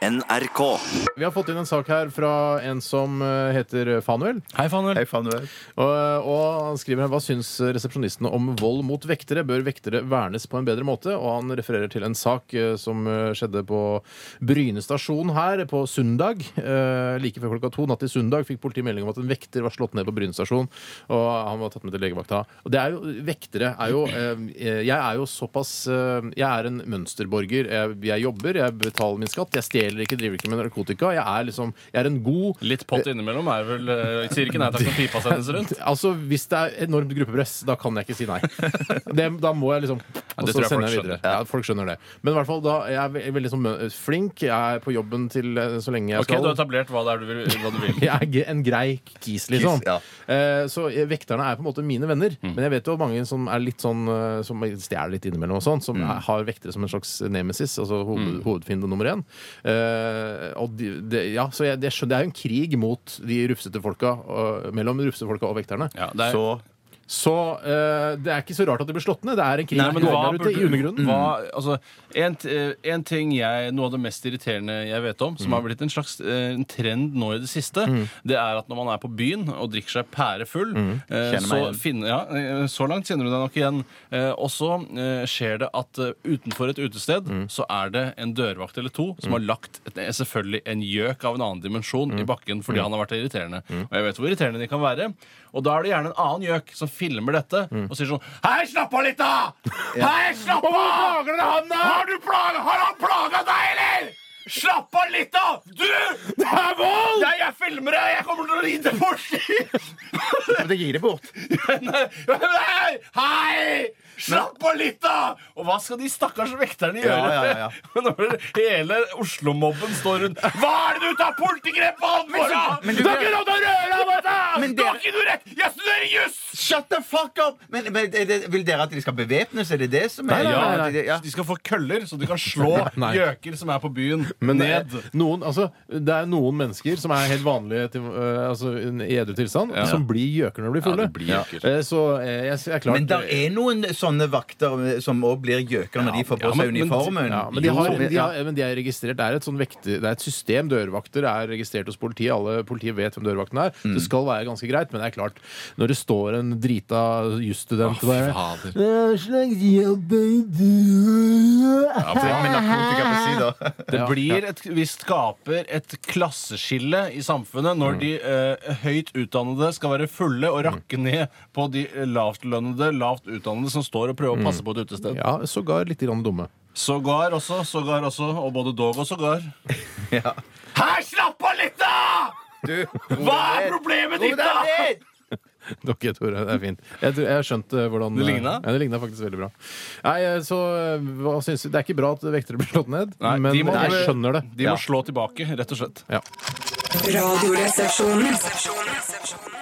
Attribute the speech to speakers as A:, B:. A: NRK.
B: Vi har fått inn en sak her fra en som eh, heter Fanuel.
C: Hei, Fanuel.
D: Hei, Fanuel.
B: Og, og han skriver her Hva syns resepsjonistene om vold mot vektere? Bør vektere vernes på en bedre måte? Og han refererer til en sak eh, som eh, skjedde på Bryne stasjon her på søndag. Eh, Like før klokka to natt til søndag fikk politiet melding om at en vekter var slått ned på Bryne stasjon. Og han var tatt med til legevakta. Og det er jo, vektere er jo eh, Jeg er jo såpass eh, Jeg er en mønsterborger. Jeg, jeg jobber, jeg betaler min skatt. Jeg stjeler ikke, driver ikke med narkotika. Jeg er liksom Jeg er en god
C: Litt pott innimellom er vel eh, Sier ikke nei takk når pipa sendes rundt.
B: Altså, Hvis det er enormt gruppepress, da kan jeg ikke si nei. Det, da må jeg liksom Og så
C: det tror jeg
B: sender jeg
C: folk
B: videre.
C: skjønner.
B: Ja, folk skjønner det. Men i hvert fall, da er jeg ve- veldig sånn mø- flink. Jeg er på jobben til eh, så lenge jeg
C: Ok, Du
B: skal.
C: har etablert hva det er du vil. Hva du vil.
B: jeg er ge- en grei kis, liksom.
D: Kis, ja.
B: eh, så eh, vekterne er på en måte mine venner.
C: Mm.
B: Men jeg vet jo mange som er litt sånn eh, Som stjeler litt innimellom og sånn. Som
C: Mm.
B: er, har vektere som en slags nemesis, altså hoved, hovedfiende nummer én. Eh, og de, det- ja, så jeg, det, skjønner, det er jo en krig mot de rufsete folka, og, mellom rufsefolka og vekterne.
C: Ja, det er,
D: Så
B: Så eh, det er ikke så rart at det blir slått ned. Det er en krig
C: Nei, men
B: som
C: hva
B: går der ute i
C: burde,
D: Mm.
B: undergrunnen.
C: hva, altså, en, t- eh, en ting jeg, Noe av det mest irriterende jeg vet om,
D: Mm.
C: som har blitt en slags eh, en trend nå i det siste, det er at når man er på byen og drikker seg pærefull, eh,
D: Mm. Kjenner
C: så,
D: meg igjen.
C: finne, ja, eh, så langt kjenner du deg nok igjen. Eh, og så eh, skjer det at eh, utenfor et utested
D: Mm.
C: så er det en dørvakt eller to som har lagt et, eh, selvfølgelig en gjøk av en annen dimensjon
D: Mm.
C: i bakken fordi han har vært irriterende. Og jeg vet hvor irriterende de kan være. Og da er det gjerne en annen gjøk som filmer dette
D: Mm.
C: og sier sånn Hei, slapp av litt, da! Hei, slapp av! Hvorfor plager dere han, da? Har, du plaga, har han plaga deg, eller? Slapp av litt, da! Du! Det er vold! Jeg, jeg filmer det! Jeg kommer til å ride bort!
D: Men det gir det bort.
C: Nei, Hei! Hei! Slapp av litt, da! Og hva skal de stakkars vekterne gjøre?
D: Ja, ja, ja,
C: Når hele Oslo-mobben står rundt Hva er det du tar politigrep på han for, da?!
D: men
C: Du
D: du-
C: har ikke lov til å røre ham! vet du!
D: Men
C: Du
D: dere-
C: har ikke noe rett! Jeg studerer juss!
D: Shut the fuck up! Men, men er det, Vil dere at de skal bevæpnes? Er det det som er
B: Nei, nei, nei,
D: Ja.
C: De skal få køller, så de kan slå
B: Nei.
C: gjøker som er på byen,
B: Men
D: eh,
B: det,
C: ned.
B: noen, altså, det er noen mennesker som er helt vanlige til, eh, altså, i edru tilstand, som blir gjøker når de blir fulle.
C: de blir gjøker.
B: Eh, så eh, jeg, jeg er klart
D: Men det er noen sånne vakter eh, som òg blir gjøker når de får på
C: ja,
D: seg
C: men- men-
D: uniformen.
B: ja, men, de har,
D: Jo,
B: de
D: ja.
B: har, men de er registrert. Det er et, sånn vekter, det er et system. Dørvakter er registrert hos politiet. Alle politiet vet hvem dørvakten er.
C: Mm.
B: Så Det skal være ganske greit, men det er klart, når det står en drita jusstudent der Hva slags jobb er det?
D: Med narkotika på si, da.
C: Det blir et, vi skaper et klasseskille i samfunnet når de eh, høyt utdannede skal være fulle og rakke ned på de eh, lavtlønnede, lavt utdannede som står og prøver å passe på et utested.
B: Ja, sågar litt grann dumme.
C: Sågar også, sågar også, og både dog og sågar.
D: Ja.
C: Her, slapp av litt, da!
D: Du,
C: Hva er problemet ditt, da?
B: Dere, Tore, det er fint. Jeg, tror- jeg har skjønt eh, hvordan
C: Det lignet?
B: Ja, det lignet faktisk veldig bra. Nei, eh, så eh, hva syns du? Det er ikke bra at vektere blir slått ned,
C: Nei,
B: men
C: de må-
B: jeg skjønner det.
C: De må slå tilbake, rett og slett.
B: Ja.
E: Radioresepsjonen.